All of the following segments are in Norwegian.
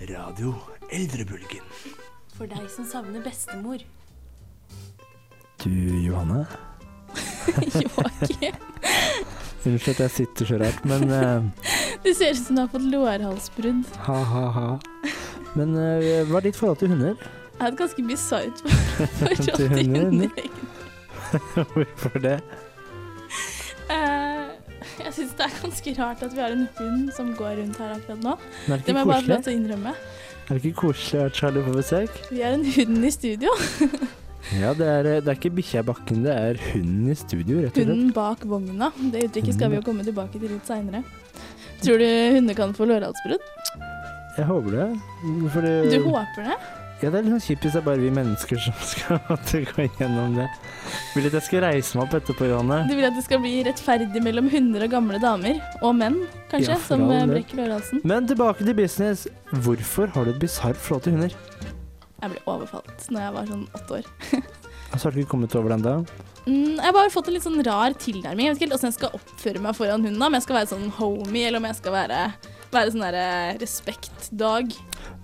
Radio Eldrebølgen. For deg som savner bestemor. Du, Johanne. Joakim. Unnskyld at jeg sitter så rart, men eh, Det ser ut som du har fått lårhalsbrudd. ha, ha, ha. Men eh, hva er ditt forhold til hunder? Jeg har et ganske bisart forhold Til til hunder, hunder. Hvorfor det? Eh, Jeg syns det er ganske rart at vi har en hund som går rundt her akkurat nå. Men er det Det ikke må jeg bare få koselig? lov til å innrømme. Er det ikke koselig at Charlie får besøk? Vi har en hund i studio. Ja, det er, eh, det er ikke bikkja i bakken, det er hunden i studio, rett og slett. Hunden bak vogna. Det uttrykket skal vi jo komme tilbake til litt seinere. Tror du hunder kan få lårhalsbrudd? Jeg håper det. For Du det håper det? ja, det er litt sånn kjipt hvis det er bare vi mennesker som skal måtte gå gjennom det. Vil du at jeg skal reise meg opp etterpå, Johanne? Du vil at det skal bli rettferdig mellom hunder og gamle damer? Og menn, Ja, kanskje, for som all eh, del. brekker lårhalsen? Men tilbake til business. Hvorfor har du et bisart forhold til hunder? Jeg ble overfalt når jeg var sånn åtte år. Altså, har du ikke kommet over den da? Mm, jeg har bare fått en litt sånn rar tilnærming. Jeg vet ikke helt hvordan jeg skal oppføre meg foran hunden. da, Om jeg skal være sånn homie, eller om jeg skal være, være sånn derre respektdag.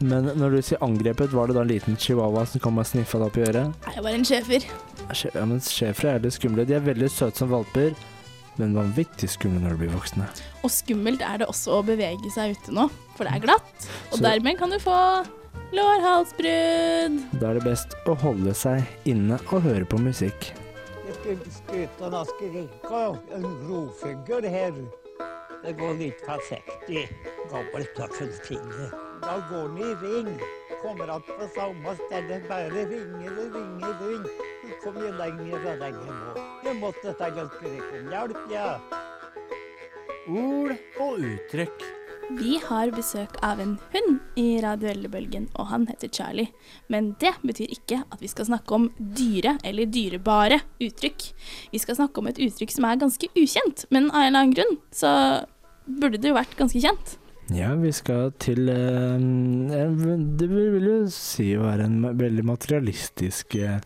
Men når du sier angrepet, var det da en liten chihuahua som kom og sniffa deg opp i øret? Nei, jeg var en schæfer. Sje- Ja, men Schæfere er litt skumle. De er veldig søte som valper, men vanvittig skumle når de blir voksne. Og skummelt er det også å bevege seg ute nå, for det er glatt. Og Så- dermed kan du få lårhalsbrudd. Da er det best å holde seg inne og høre på musikk. Skutan har skrika en grovfugl her. Det går litt forsiktig. Gammel tørrfinne. Da går den i ring. Kommer att på samme sted. Bare ringer og ringer og ringer. Så kommer jeg lenger og lenger nå. Jeg måtte ta en skrik om hjelp, ja. Ord og uttrykk. Vi har besøk av en hund i Radio Eldrebølgen, og han heter Charlie. Men det betyr ikke at vi skal snakke om dyre eller dyrebare uttrykk. Vi skal snakke om et uttrykk som er ganske ukjent, men av en eller annen grunn så burde det jo vært ganske kjent. Ja, vi skal til eh, en- Det vil jo si å være en ma- veldig materialistisk eh,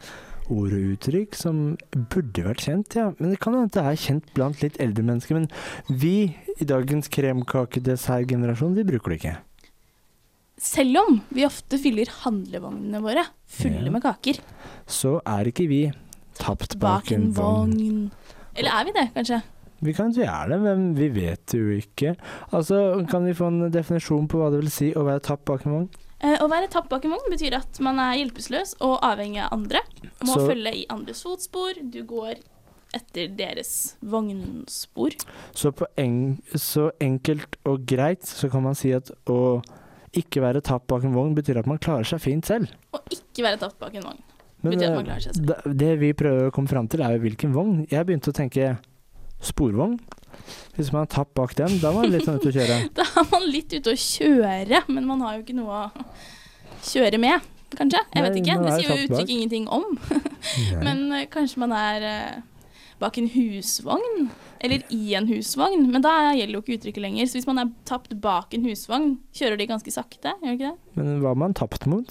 ord og uttrykk som burde vært kjent, ja. Men det kan hende det er kjent blant litt eldre mennesker. Men vi i dagens kremkakedessertgenerasjon, vi bruker det ikke. Selv om vi ofte fyller handlevognene våre fulle Ja. med kaker. Så er ikke vi tapt Bak en vogn. Eller er vi det, kanskje? Vi kan si er det, men vi vet jo ikke. Altså, kan vi få en definisjon på hva det vil si å være tapt bak en vogn? Eh, å være tapt bak en vogn betyr at man er hjelpeløs og avhengig av andre. Må Så- følge i andres fotspor. Du går etter deres vognspor. Så, på en, så enkelt og greit så kan man si at å ikke være tapt bak en vogn betyr at man klarer seg fint selv. Og ikke være tapt bak en vogn. Betyr at man klarer seg selv. eh, Det, det vi prøver å komme fram til, er jo hvilken vogn. Jeg begynte å tenke sporvogn. Hvis man er tapt bak den, da var det litt sånn ute å kjøre. Da er man litt ute å kjøre, men man har jo ikke noe å kjøre med, kanskje. Nei, Jeg vet ikke. man Det er sier jo tapt bak. uttrykk ingenting om. Men eh, kanskje man er eh, bak en husvogn, eller i en husvogn. Men da gjelder jo ikke uttrykket lenger. Så hvis man er tapt bak en husvogn, kjører de ganske sakte, gjør de ikke det? Men hva er man tapt mot?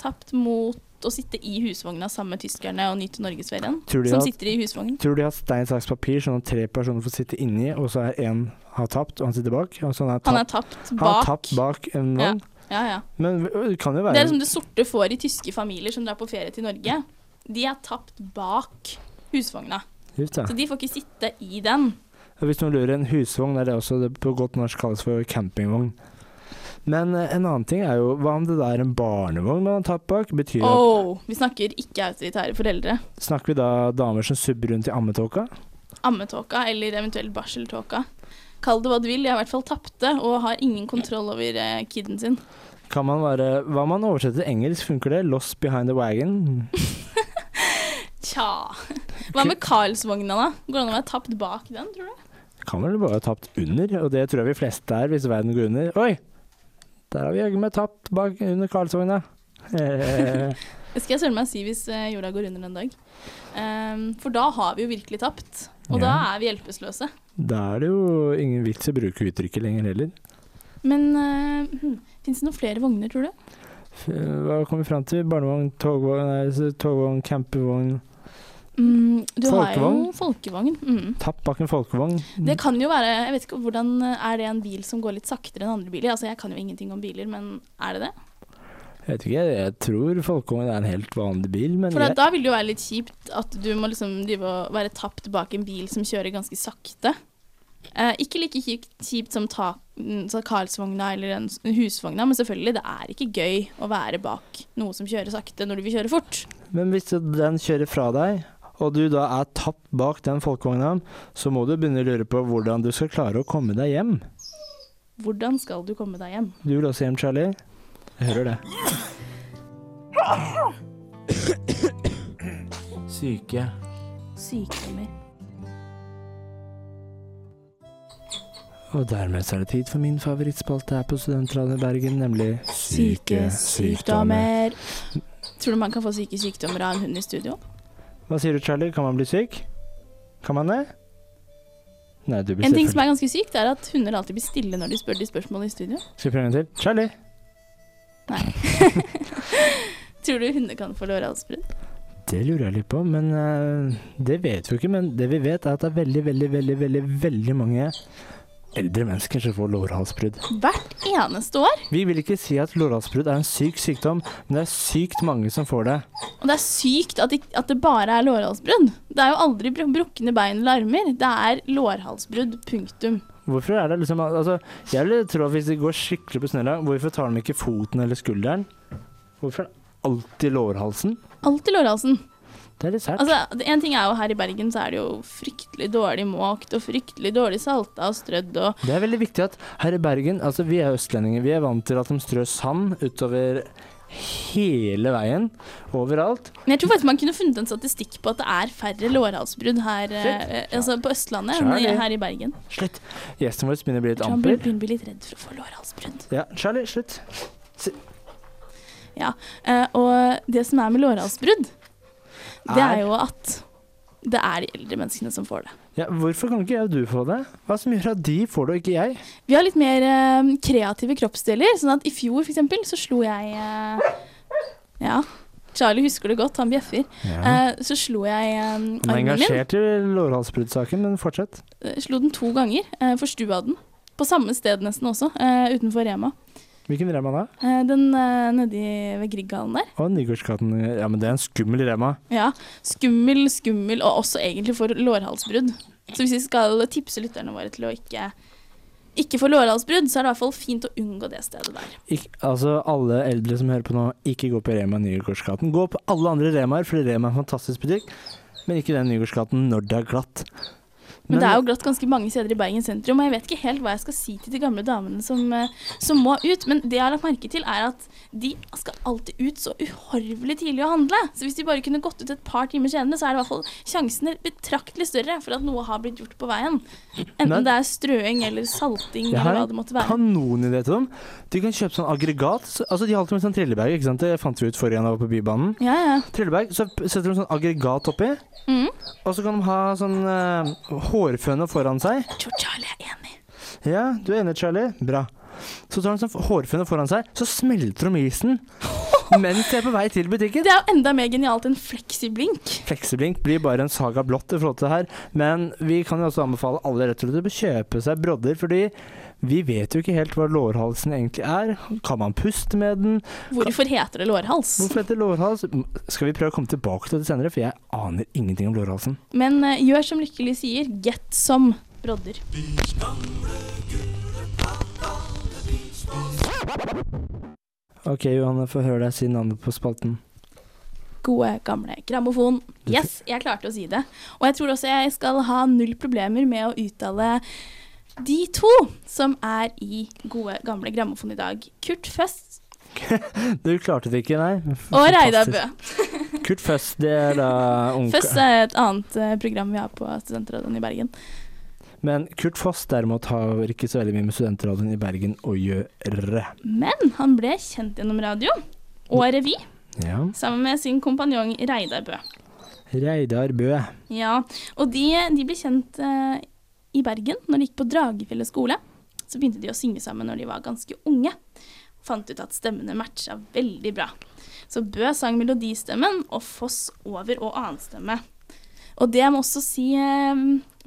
tapt mot å sitte i husvogna sammen med tyskerne og nyte norgesferien. Tror de Som at- sitter i husvognen. Tror de har stein, saks, papir, sånn at tre personer får sitte inni, og så er én har tapt, og han sitter bak? Og så han er Han er tapt, tapt han bak. er tapt bak en Ja, vogn? ja, ja. Men det kan jo Det være er liksom- som det sorte får i tyske familier som drar på ferie til Norge. De er tapt bak husvogna, Just det. så de får ikke sitte i den. Og Hvis noen lurer, en husvogn er det også det på godt norsk kalles for campingvogn. Men eh, en annen ting er jo, hva om det da er en barnevogn man har tatt bak? Betyr det Oh, vi snakker ikke autoritære foreldre. at, snakker vi da damer som subber rundt i ammetåka? Ammetåka eller eventuelt barseltåka. Kall det hva du vil, de er i hvert fall tapte og har ingen kontroll over eh, kiden sin. Kan man være, hva om man oversetter til engelsk, funker det? Lost behind the wagon? Tja. Hva med Karlsvogna, da? Går det an å være tapt bak den, tror du? Kan vel bare ha tapt under, og det tror jeg vi fleste er hvis verden går under. Oi! Der har vi jaggu meg tapt bak under Karlsvogna. Eh, Det skal jeg søren meg si hvis eh, jorda går under en dag. Ehm, for da har vi jo virkelig tapt. Og da Ja. er vi hjelpeløse. da er det jo ingen vits i å bruke uttrykket lenger heller. Men uh, fins det noen flere vogner, tror du? Eh, F- Hva kom vi fram til? Barnevogn, togvogn, nei, så togvogn, campingvogn Mm, du har jo Folkevogn? folkevogn. Mm. Tapp bak en folkevogn. Det kan jo være Jeg vet ikke hvordan Er det en bil som går litt saktere enn andre biler? Altså, jeg kan jo ingenting om biler, men er det det? Jeg vet ikke, jeg tror folkevogn er en helt vanlig bil, men For da- jeg, da vil det jo være litt kjipt at du må liksom drive og være tapt bak en bil som kjører ganske sakte. Eh, ikke like kjipt, kjipt som ta, mm, så Karlsvogna eller en s- husvogna, men selvfølgelig, det er ikke gøy å være bak noe som kjører sakte når du vil kjøre fort. Men hvis den kjører fra deg, og du da er tapt bak den folkevogna, så må du begynne å lure på hvordan du skal klare å komme deg hjem. Hvordan skal du komme deg hjem? Du vil også hjem, Charlie? Jeg hører det. Syke. Sykdommer. Og dermed så er det tid for min favorittspalte her på Studentradioen i Bergen, nemlig Tror du man kan få syke sykdommer av en hund i studio? Hva sier du, Charlie? Kan man bli syk? Kan man det? Nei, du blir En ting som selvfølgelig er ganske sykt, er at hunder alltid blir stille når de spør de spørsmål i studio. Skal vi prøve en til? Charlie! Tror du hunder kan få lårhalsbrudd? Det lurer jeg litt på, men eh, det vet vi jo ikke. Men det vi vet, er at det er veldig, veldig, veldig, veldig, veldig mange eldre mennesker som får lårhalsbrudd. Hvert eneste år. Vi vil ikke si at lårhalsbrudd er en syk sykdom, men det er sykt mange som får det. Og det er sykt at, det- at det bare er lårhalsbrudd. Det er jo aldri bru- brukne bein eller armer. Det er lårhalsbrudd, punktum. Hvorfor er det liksom altså, Jeg vil tro at hvis det går skikkelig på snella, hvorfor tar de ikke foten eller skulderen? Hvorfor er det alltid lårhalsen? Alltid lårhalsen. Det er litt sært. Altså, det- en ting er jo her i Bergen så er det jo fryktelig dårlig måkt og fryktelig dårlig salta og strødd og det er veldig viktig at her i Bergen Altså, vi er østlendinger. Vi er vant til at de strør sand utover hele veien. Overalt. Men jeg tror faktisk man kunne funnet en statistikk på at det er færre lårhalsbrudd her eh, altså på Østlandet enn i- Charlie. her i Bergen. Slutt. Gjesten vår begynner å bli Jeg litt tror han blir- amper. begynner å bli litt redd for å få lårhalsbrudd. Ja, Charlie, slutt. Eh, og det som er med lårhalsbrudd, det Er- er jo at det er de eldre menneskene som får det. Ja, hvorfor kan ikke jeg og du få det? Hva som gjør at de får det, og ikke jeg? Vi har litt mer eh, kreative kroppsdeler, sånn at i fjor for eksempel så slo jeg eh, Ja, Charlie husker det godt, han bjeffer. Eh, så slo jeg eh, Han er armen min. engasjert i lårhalsbruddsaken, men fortsett. eh, Slo den to ganger. Eh, forstua den. På samme sted nesten også, eh, utenfor Rema. Hvilken rem han er? Eh, den eh, nedi ved Grieghallen der. Å, Nygårdskatten. Ja, men det er en skummel rema. Ja, skummel, skummel, og også egentlig for lårhalsbrudd. Så hvis vi skal tipse lytterne våre til å ikke, ikke få lårhalsbrudd, så er det i hvert fall fint å unngå det stedet der. Ik altså, alle eldre som hører på nå, ikke gå på Rema Nygårdsgaten. Gå på alle andre Remaer, for Rema er en fantastisk butikk, men ikke den Nygårdsgaten når det er glatt. Men, det er jo glatt ganske mange steder i Bergen sentrum, og jeg vet ikke helt hva jeg skal si til de gamle damene som, eh, som må ut. Men det jeg har lagt merke til, er at de skal alltid ut så uhorvelig tidlig å handle. Så hvis de bare kunne gått ut et par timer senere, så er det i hvert fall sjansene betraktelig større for at noe har blitt gjort på veien. Enten Men- det er strøing eller salting Jeg har eller hva en det måtte være. Kanonidé til dem. De kan kjøpe sånn aggregat. Så, altså, de har alltid med sånn trillebag, ikke sant? Det fant vi ut forrige gang jeg var på Bybanen. Ja, ja. Trillebag, så p- setter de sånn aggregat oppi, Mhm. og så kan de ha sånn eh, hårføne foran seg. Jeg tror Charlie er enig. Ja, du er enig, Charlie? Bra. Så tar han sånn hårføne foran seg, så smelter de isen mens de er på vei til butikken. Det er jo enda mer genialt enn fleksiblink. Flekseblink blir bare en saga blått i forhold til det her, men vi kan jo også anbefale alle rett og slett å kjøpe seg brodder, fordi vi vet jo ikke helt hva lårhalsen egentlig er. Kan man puste med den? Hvorfor heter det lårhals? Hvorfor heter det lårhals? M- Skal vi prøve å komme tilbake til det senere, for jeg aner ingenting om lårhalsen. Men eh, gjør som Lykkelig sier, get som brodder. Ok, Johanne, få høre deg si navnet på spalten. Gode, gamle grammofon. Du- Yes, jeg klarte å si det. Og jeg tror også jeg skal ha null problemer med å uttale de to som er i Gode, gamle grammofon i dag. Kurt Føst Du klarte det ikke, nei? og Reidar Bø. Kurt Føss, det er da onkel... Føst er et annet eh, program vi har på Studentradioen i Bergen. Men Kurt Foss derimot har ikke så veldig mye med studentradioen i Bergen å gjøre. Men han ble kjent gjennom radio og revy Ja. sammen med sin kompanjong Reidar Bø. Reidar Bø. Ja, og de, de ble kjent eh, i Bergen når de gikk på Dragefjellet skole. Så begynte de å synge sammen når de var ganske unge. Fant ut at stemmene matcha veldig bra. Så Bø sang melodistemmen og Foss over- og annenstemme. Og det jeg må også si eh,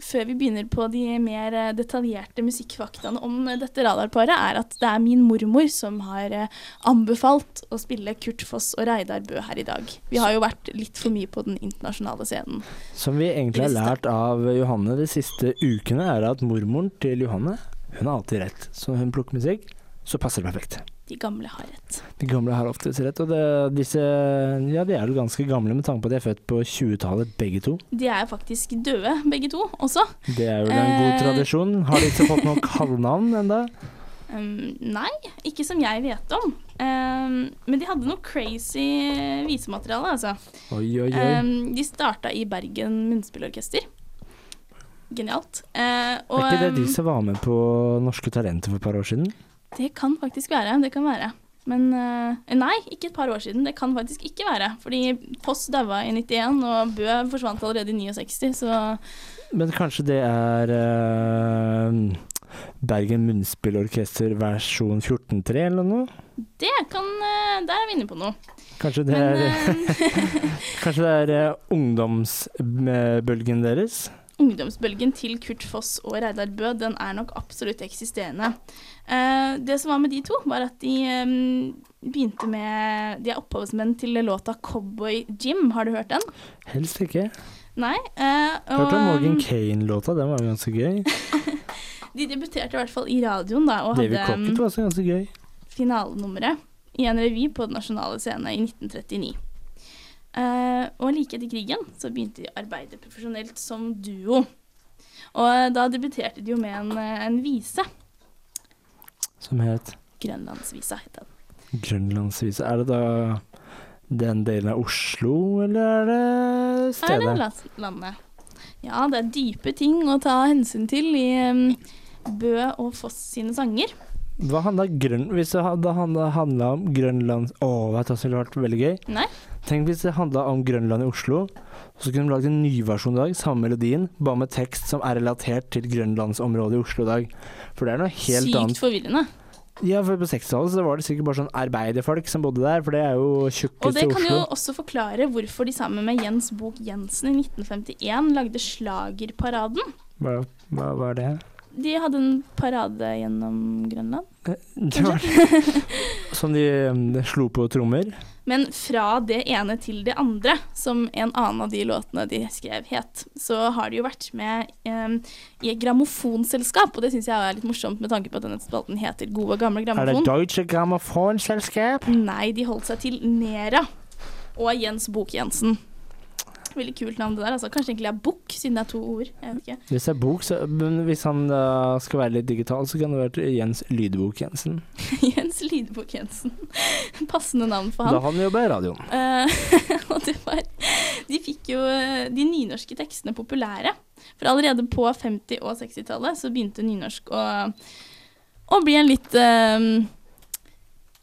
før vi begynner på de mer eh, detaljerte musikkfaktaene om eh, dette radarparet, er at det er min mormor som har eh, anbefalt å spille Kurt Foss og Reidar Bø her i dag. Vi har jo vært litt for mye på den internasjonale scenen. Som vi egentlig har lært av Johanne de siste ukene, er at mormoren til Johanne, hun har alltid rett. Så når hun plukker musikk, så passer det perfekt. De gamle har rett. De gamle har oftest rett, og det, disse Ja, de er jo ganske gamle med tanke på at de er født på 20-tallet begge to. De er faktisk døde, begge to, også. Det er vel en god Eh. tradisjon. Har de ikke fått noe kallenavn ennå? Um, nei, ikke som jeg vet om. Um, men de hadde noe crazy visemateriale, altså. Oi, oi, oi. Um, de starta i Bergen Munnspillorkester. Genialt. Eh, og, er ikke det de um, som var med på Norske Talenter for et par år siden? det kan faktisk være. Det kan være. Men eh, nei, ikke et par år siden. Det kan faktisk ikke være. Fordi Foss daua i 91, og Bø forsvant allerede i 69, så Men kanskje det er eh, Bergen Munnspillorkester versjon 14.3 eller noe? det kan eh, Der er vi inne på noe. Kanskje det Men er eh, Kanskje det er eh, ungdomsbølgen deres? ungdomsbølgen til Kurt Foss og Reidar Bø, den er nok absolutt eksisterende. Eh, det som var med de to, var at de eh, begynte med De er opphavsmenn til låta 'Cowboy Jim'. Har du hørt den? Helst ikke. Nei. eh, og, Hørte om Morgan eh, Kane-låta, den var jo ganske gøy. de debuterte i hvert fall i radioen da, og David hadde Cocket um, var også ganske gøy. finalenummeret i en revy på den nasjonale scenen i 1939. Eh, og like etter krigen så begynte de å arbeide profesjonelt som duo. Og eh, da debuterte de jo med en, eh, en vise. Som het Grønlandsvisa het den. Grønlandsvise. Er det da den delen av Oslo, eller er det Her er stedet? lands- landet. Ja, det er dype ting å ta hensyn til i em, Bø og Foss sine sanger. Hva handla grønn... Hvis det hadde handla handla om Grønland Å, vet du hva som ville vært veldig gøy? Nei. Tenk hvis det handla om Grønland i Oslo, så kunne de lagd en ny versjon i dag, samme melodien, bare med tekst som er relatert til grønlandsområdet i Oslo i dag. For det er noe helt Sykt annet. forvirrende. Ja, for på 60-tallet så var det sikkert bare sånn arbeiderfolk som bodde der, for det er jo Og tjukkest det i kan Oslo. jo også forklare hvorfor de sammen med Jens Bok Jensen i 1951 lagde Slagerparaden. Hva, hva var det? De hadde en parade gjennom Grønland. det var, som de, um, slo på trommer. Men fra det ene til det andre, som en annen av de låtene de skrev het, så har de jo vært med em, i et grammofonselskap, og det syns jeg er litt morsomt med tanke på at denne spalten heter Gode gamle Er det grammofon. Deutsche Grammophonselskap? Nei, de holdt seg til Nera og Jens Bok Jensen. Veldig kult navn det der, altså. Kanskje egentlig er Bukk, siden det er to ord. Jeg vet ikke. Hvis det er bok, så men Hvis han uh, skal være litt digital, så kan det være Jens Lydbok Jensen. Jens Lydbok Jensen. Passende navn for Da han. han jobba i radioen. Eh, og det var De fikk jo eh, de nynorske tekstene populære. For allerede på 50- og 60-tallet så begynte nynorsk å, å bli en litt eh,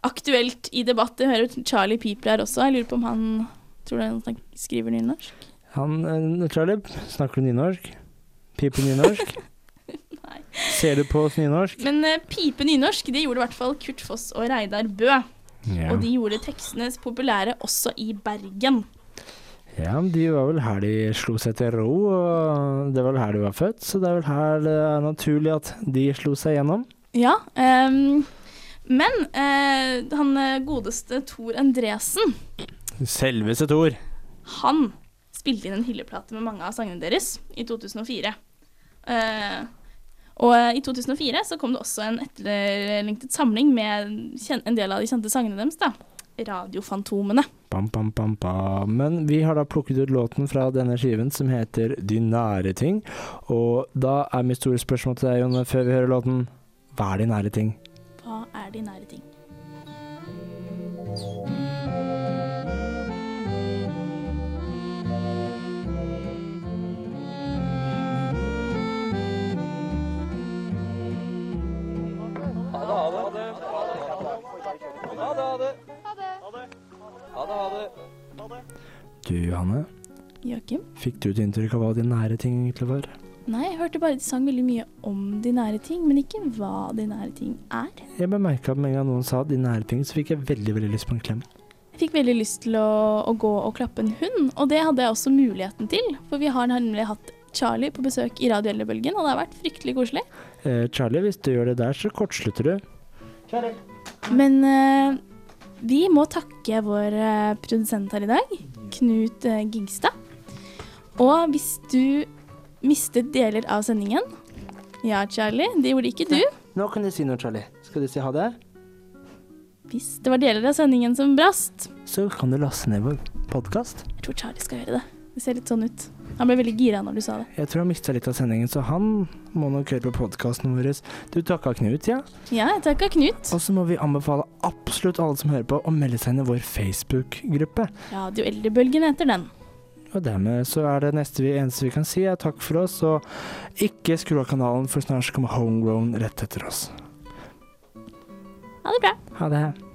aktuelt i debatt. Jeg hører jo Charlie Peeper her også. Jeg lurer på om han tror du han snak- skriver nynorsk? Han uh, Charlie, snakker du nynorsk? Piper nynorsk? Nei. Ser du på oss nynorsk? Men eh, pipe nynorsk, det gjorde i hvert fall Kurt Foss og Reidar Bø. Ja. Og de gjorde tekstene populære også i Bergen. ja, men de var vel her de slo seg til ro, og det var vel her de var født, så det er vel her det er naturlig at de slo seg gjennom. Ja, ehm, men eh, han eh, godeste Tor Endresen, Selveste Thor. han spilte inn en hylleplate med mange av sangene deres i 2004. Eh, og eh, i 2004 så kom det også en etterlengtet samling med kjen- en del av de kjente sangene deres, da. Radiofantomene. Bam, bam, bam, bam. Men vi har da plukket ut låten fra denne skiven som heter De nære ting. Og da er mitt store spørsmål til deg, Jonne, før vi hører låten. Hva er de nære ting? Hva er de nære ting? Du, Johanne, Joakim? fikk du et inntrykk av hva de nære ting egentlig var? Nei, jeg hørte bare de sang veldig mye om de nære ting, men ikke hva de nære ting er. Jeg bemerka med en gang noen sa de nære ting, så fikk jeg veldig veldig lyst på en klem. Jeg Fikk veldig lyst til å, å gå og klappe en hund, og det hadde jeg også muligheten til. For vi har nemlig hatt Charlie på besøk i Radio Eldrebølgen, og det har vært fryktelig koselig. Eh, Charlie, hvis du gjør det der, så kortslutter du. Men eh, vi må takke vår eh, produsent her i dag, Knut eh, Gigstad. Og hvis du mistet deler av sendingen Ja, Charlie, det gjorde ikke du. Nå kan du si noe, Charlie. Skal du si ha det? Hvis det var deler av sendingen som brast Så kan du laste ned vår podkast. Jeg tror Charlie skal gjøre det. Det ser litt sånn ut. Han ble veldig gira når du sa det. Jeg tror han mista litt av sendingen, så han må nok høre på podkasten vår. Du takka Knut, ja? Ja, jeg takka Knut. Og så må vi anbefale absolutt alle som hører på, å melde seg inn i vår Facebook-gruppe. Radio Eldrebølgen heter den. Og dermed så er det neste vi, eneste vi kan si, er takk for oss, og ikke skru av kanalen, for snart kommer Homegrown rett etter oss. Ha det bra. Ha det.